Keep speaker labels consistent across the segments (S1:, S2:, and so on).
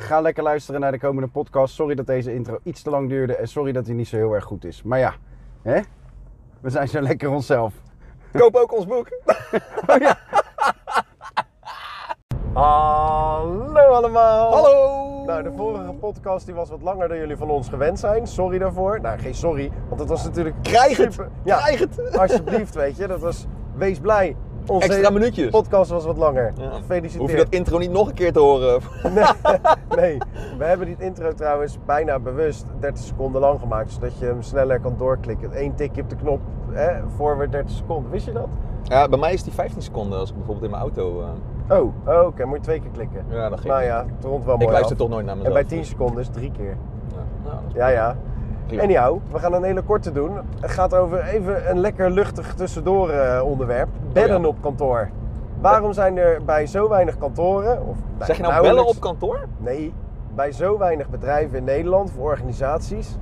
S1: Ga lekker luisteren naar de komende podcast. Sorry dat deze intro iets te lang duurde. En sorry dat hij niet zo heel erg goed is. Maar ja, hè? we zijn zo lekker onszelf.
S2: Koop ook ons boek.
S3: Oh. Hallo allemaal!
S2: Hallo!
S3: Nou, de vorige podcast die was wat langer dan jullie van ons gewend zijn. Sorry daarvoor. Nou, geen sorry, want het was natuurlijk...
S2: Krijg het!
S3: super- Ja,
S2: Krijg het!
S3: alsjeblieft, weet je. Dat was... Wees blij. Onze
S2: Extra minuutjes.
S3: podcast was wat langer.
S2: Ja. Hoef je
S3: Gefeliciteerd.
S2: dat intro niet nog een keer te horen.
S3: Nee, we hebben die intro trouwens bijna bewust 30 seconden lang gemaakt. Zodat je hem sneller kan doorklikken. Eén tikje op de knop, hè, voorwaarts 30 seconden. Wist je dat?
S2: Ja, bij mij is die 15 seconden als ik bijvoorbeeld in mijn auto... eh,
S3: Oh, oké. moet je twee keer klikken.
S2: Ja, dat geeft
S3: Nou
S2: niet.
S3: ja, het rond wel mooi
S2: Ik luister
S3: af.
S2: toch nooit naar
S3: En
S2: mezelf.
S3: bij 10 seconden is drie keer.
S2: Ja, nou, dat is
S3: Ja, ja.
S2: prima.
S3: Anyhow, we gaan een hele korte doen. Het gaat over even een lekker luchtig tussendoor eh, onderwerp. Bedden
S2: Oh ja.
S3: op kantoor. Waarom zijn er bij zo weinig kantoren... Of, nou,
S2: Zeg je nou bellen
S3: nauwelijks-
S2: op kantoor?
S3: Nee, bij zo weinig bedrijven in Nederland, voor organisaties...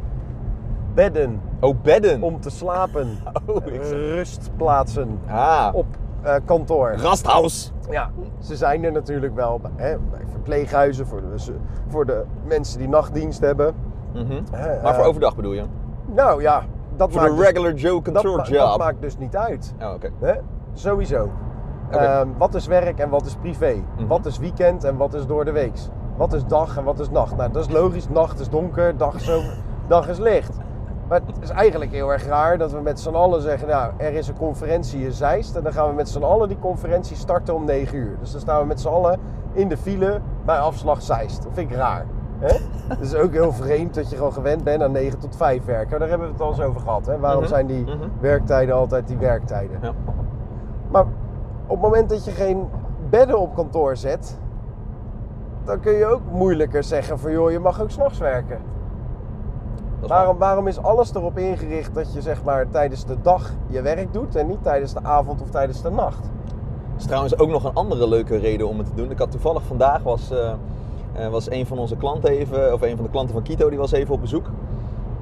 S3: Bedden
S2: Oh, bedden.
S3: om te slapen.
S2: Oh, ik zeg-
S3: Rustplaatsen
S2: Ah,
S3: op eh, kantoor.
S2: Rasthaus.
S3: Ja, ze zijn er natuurlijk wel bij, hè, bij verpleeghuizen, voor de, voor de mensen die nachtdienst hebben.
S2: Mhm.
S3: Hè,
S2: Maar voor
S3: eh,
S2: overdag bedoel je?
S3: Nou ja, dat
S2: Voor
S3: maakt
S2: de
S3: dus-
S2: regular Joe
S3: dat,
S2: control
S3: ma-
S2: job.
S3: dat maakt dus niet uit.
S2: Oh, oké.
S3: Hè? Sowieso.
S2: Oké. Mhm.
S3: Ehm, wat is werk en wat is privé? Wat is weekend en wat is door de weeks? Wat is dag en wat is nacht? Nou, dat is logisch. Nacht is donker, dag is, zo, dag is licht. Maar het is eigenlijk heel erg raar dat we met z'n allen zeggen... nou, er is een conferentie in Zeist... en dan gaan we met z'n allen die conferentie starten om 9 uur. Dus dan staan we met z'n allen in de file bij afslag Zeist. Dat vind ik raar. hè? Het is ook heel vreemd dat je gewoon gewend bent aan 9 tot 5 werken. Maar daar hebben we het al eens over gehad. Hè? Waarom
S2: Mhm,
S3: zijn die
S2: mhm.
S3: werktijden altijd die werktijden?
S2: Ja.
S3: Maar op het moment dat je geen bedden op kantoor zet, dan kun je ook moeilijker zeggen van joh, je mag ook s'nachts werken.
S2: Dat is
S3: Waarom,
S2: waar.
S3: waarom is alles erop ingericht dat je zeg maar tijdens de dag je werk doet en niet tijdens de avond of tijdens de nacht?
S2: Er is trouwens ook nog een andere leuke reden om het te doen. Ik had toevallig vandaag was, eh, eh, was een van onze klanten even, of een van de klanten van Kito, die was even op bezoek.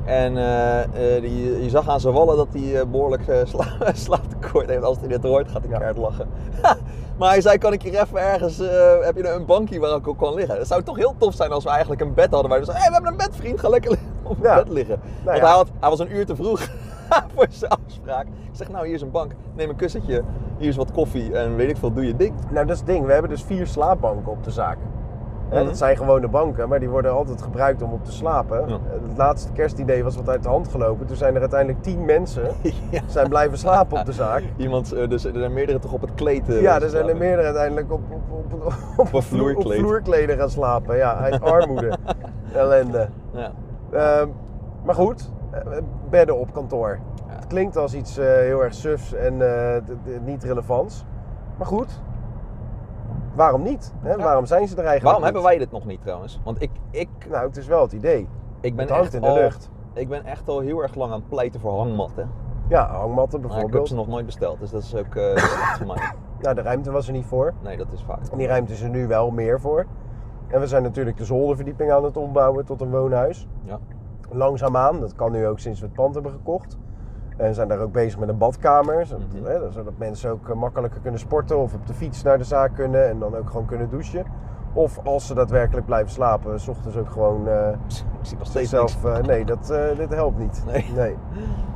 S2: En eh, eh, die, je zag aan zijn wallen dat hij eh, behoorlijk eh, sla- slaaptekort heeft. Als hij dit hoort, gaat hij
S3: Ja.
S2: keihard lachen. maar hij zei, kan ik hier even ergens, eh, heb je nou een bankje waar ik op kan liggen? Het zou toch heel tof zijn als we eigenlijk een bed hadden. Waar we zeiden, hey, we hebben een bed vriend, ga lekker li- op het
S3: Ja.
S2: bed liggen. Want
S3: Nou ja.
S2: hij, had, hij was een uur te vroeg voor zijn afspraak. Ik zeg, nou hier is een bank, neem een kussentje, hier is wat koffie en weet ik veel, doe je ding.
S3: Nou, dat is het ding. We hebben dus vier slaapbanken op de zaak. Hè,
S2: Mhm.
S3: Dat zijn gewone banken, maar die worden altijd gebruikt om op te slapen.
S2: Ja.
S3: Het laatste kerstidee was wat uit de hand gelopen. Toen zijn er uiteindelijk tien mensen zijn blijven slapen op de zaak.
S2: Iemand, eh, dus, er zijn meerdere toch op het kleed. eh,
S3: Ja, er zijn er
S2: slapen.
S3: meerdere uiteindelijk op, op, op, op, op,
S2: een
S3: vloer- op
S2: vloerkleed.
S3: vloerkleden gaan slapen. Ja, uit armoede. Ellende.
S2: Ja.
S3: Ehm, maar goed, eh, bedden op kantoor.
S2: Ja.
S3: Het klinkt als iets eh, heel erg sufs en eh, d- d- niet relevants. Maar goed, waarom niet? Hè? Waarom zijn ze er eigenlijk
S2: Waarom
S3: niet?
S2: hebben wij dit nog niet trouwens? Want ik, ik,
S3: Nou, het is wel het idee.
S2: ik, ben
S3: Het hangt
S2: echt
S3: in de
S2: al,
S3: lucht.
S2: ik ben echt al heel erg lang aan het pleiten voor hangmatten.
S3: Ja, hangmatten
S2: Maar Nou, ik heb
S3: bijvoorbeeld.
S2: ze nog nooit besteld, dus dat is ook eh, slecht voor mij.
S3: Nou, de ruimte was er niet voor.
S2: Nee, dat is vaak.
S3: En die ruimte is er nu wel meer voor. En we zijn natuurlijk de zolderverdieping aan het ombouwen tot een woonhuis.
S2: Ja.
S3: Langzaamaan, dat kan nu ook sinds we het pand hebben gekocht. En zijn daar ook bezig met een badkamer. Zodat,
S2: Mhm.
S3: hè, zodat mensen ook eh, makkelijker kunnen sporten of op de fiets naar de zaak kunnen en dan ook gewoon kunnen douchen. Of als ze daadwerkelijk blijven slapen, s ochtends ook gewoon eh,
S2: Ik zie nog steeds niks.
S3: zichzelf. eh, nee, dat, eh, dit helpt niet.
S2: Nee.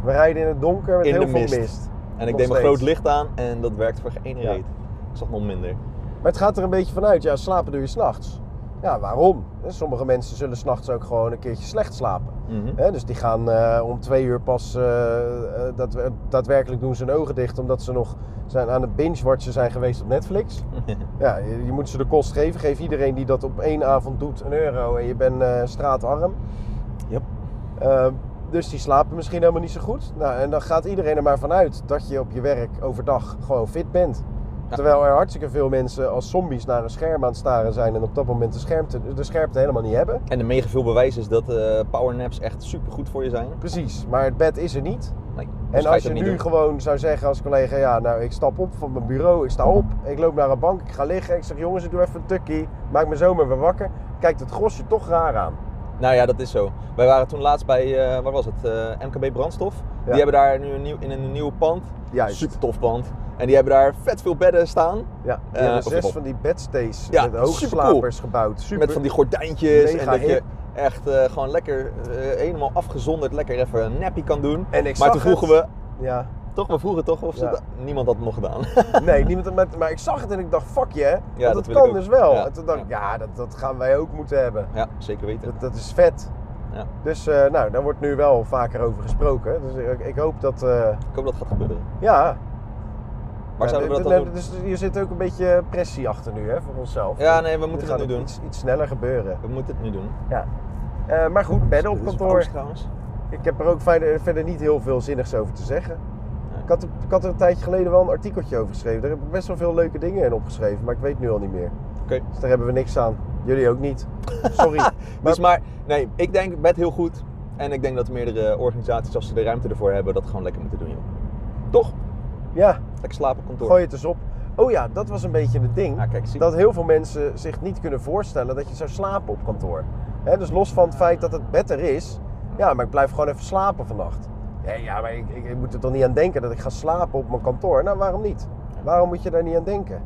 S3: We rijden in het donker met
S2: In
S3: heel
S2: de
S3: veel
S2: mist.
S3: mist.
S2: En ik
S3: nog
S2: deed mijn
S3: steeds.
S2: groot licht aan en dat werkt voor geen ene
S3: Ja.
S2: reet. Ik zag nog minder.
S3: Maar het gaat er een beetje vanuit, ja, slapen doe je s'nachts. Ja, waarom? Sommige mensen zullen s'nachts ook gewoon een keertje slecht slapen.
S2: Mhm.
S3: Hè, dus die gaan eh, om twee uur pas eh, eh, daadwer- daadwerkelijk doen ze hun ogen dicht omdat ze nog zijn aan het binge-watchen zijn geweest op Netflix. Ja, je, je moet ze de kost geven. Geef iedereen die dat op één avond doet een euro en je bent eh, straatarm.
S2: Yep.
S3: Eh, dus die slapen misschien helemaal niet zo goed. Nou, en dan gaat iedereen er maar vanuit dat je op je werk overdag gewoon fit bent.
S2: Ja.
S3: Terwijl er hartstikke veel mensen als zombies naar een scherm aan het staren zijn en op dat moment de scherpte, de scherpte helemaal niet hebben.
S2: En de mega veel bewijs is dat eh powernaps echt super goed voor je zijn.
S3: Precies, maar het bed is er niet.
S2: Nee, dus
S3: En
S2: ga
S3: als
S2: het
S3: je
S2: niet
S3: nu
S2: doen.
S3: gewoon zou zeggen als collega, ja nou ik stap op van mijn bureau, ik sta op, ik loop naar een bank, ik ga liggen, ik zeg jongens ik doe even een tukkie, maak me zomaar weer wakker, kijkt het gros je toch raar aan.
S2: Nou ja, dat is zo. Wij waren toen laatst bij, eh, waar was het? Eh, MKB Brandstof. Die hebben daar nu een nieuw, in een nieuw pand.
S3: Juist.
S2: Super tof pand. En die hebben daar vet veel bedden staan.
S3: Ja, die
S2: Eh,
S3: hebben
S2: of de
S3: zes
S2: pop.
S3: van die bedstays
S2: Ja,
S3: met
S2: supercool.
S3: hoogslapers gebouwd. Super.
S2: Met van die gordijntjes.
S3: Mega
S2: en dat je
S3: hip.
S2: echt eh, gewoon lekker eh, helemaal afgezonderd lekker even een nappy kan doen.
S3: En ik
S2: maar
S3: zag
S2: toen vroegen
S3: het.
S2: we,
S3: Ja.
S2: toch, we vroegen toch of ze
S3: Ja.
S2: dat- niemand had het nog gedaan.
S3: Nee, niemand, maar, maar ik zag het en ik dacht, fuck je, hè.
S2: dat
S3: want dat
S2: wil ik
S3: kan
S2: ook.
S3: dus wel.
S2: Ja.
S3: En toen dacht ik, ja, dat, dat gaan wij ook moeten hebben.
S2: ja, zeker weten.
S3: Dat, dat is vet.
S2: Ja.
S3: Dus eh, nou, daar wordt nu wel vaker over gesproken. Dus ik, ik hoop dat, eh,
S2: Ik hoop dat gaat gebeuren.
S3: ja.
S2: Waar
S3: Ja,
S2: zouden we dat
S3: dit-
S2: dan
S3: nee,
S2: doen?
S3: Dus hier zit ook een beetje pressie achter nu, hè, voor onszelf.
S2: Ja, nee, we
S3: Dit
S2: moeten
S3: gaat
S2: het nu doen.
S3: Iets, iets sneller gebeuren.
S2: We moeten het nu doen.
S3: Eh, maar goed, bedden op
S2: Dit is
S3: kantoor.
S2: Oost trouwens.
S3: Ik heb er ook verder, verder niet heel veel zinnigs over te zeggen.
S2: Nee.
S3: Ik had, er- ik had er een tijdje geleden wel een artikeltje over geschreven. Daar heb ik best wel veel leuke dingen in opgeschreven, maar ik weet nu al niet meer.
S2: Oké.
S3: Dus daar hebben we niks aan. Jullie ook niet. Sorry.
S2: Maar, dus maar, nee, ik denk bed heel goed. En ik denk dat meerdere organisaties, als ze de ruimte ervoor hebben, dat gewoon lekker moeten doen, joh. Toch?
S3: ja,
S2: Lekker slapen op kantoor.
S3: gooi het eens op. Oh ja, dat was een beetje het ding.
S2: Ja, kijk, zie.
S3: Dat heel veel mensen zich niet kunnen voorstellen dat je zou slapen op kantoor. Hè, dus los van het feit dat het bed er is, ja, maar ik blijf gewoon even slapen vannacht. Ja, ja maar ik, ik, ik moet er toch niet aan denken dat ik ga slapen op mijn kantoor? Nou, waarom niet? Waarom moet je daar niet aan denken?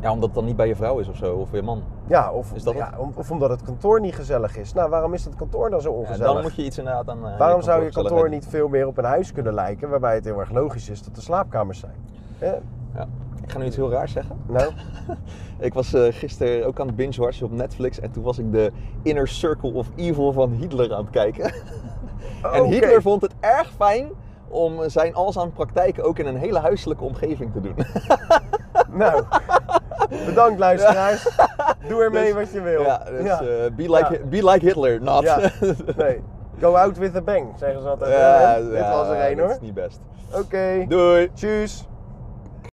S2: Ja, omdat het dan niet bij je vrouw is of zo, of je man.
S3: Ja, of,
S2: Is dat
S3: ja, om- of omdat het kantoor niet gezellig is. Nou, waarom is dat kantoor dan zo
S2: Ja,
S3: ongezellig?
S2: dan moet je iets inderdaad aan. eh,
S3: waarom zou je
S2: gezelligheid
S3: kantoor
S2: doen.
S3: niet veel meer op een huis kunnen lijken, waarbij het heel erg logisch is dat er slaapkamers zijn? Hè?
S2: Ik ga nu iets heel raars zeggen.
S3: Nou,
S2: Ik was eh gisteren ook aan het binge-watchen op Netflix en toen was ik de Inner Circle of Evil van Hitler aan het kijken. en
S3: Oh, oké.
S2: Hitler vond het erg fijn om zijn alles aan praktijken ook in een hele huiselijke omgeving te doen.
S3: Nou, bedankt luisteraars. Doe ermee
S2: Dus-
S3: wat je wil.
S2: Ja, dus
S3: Ja.
S2: eh, be, like,
S3: Ja.
S2: be like Hitler, not.
S3: Ja. Nee. Go out with a bang, zeggen ze altijd.
S2: Ja,
S3: Dit
S2: ja,
S3: was er één
S2: Dat
S3: hoor.
S2: is niet best.
S3: Oké,
S2: Doei.
S3: tjus.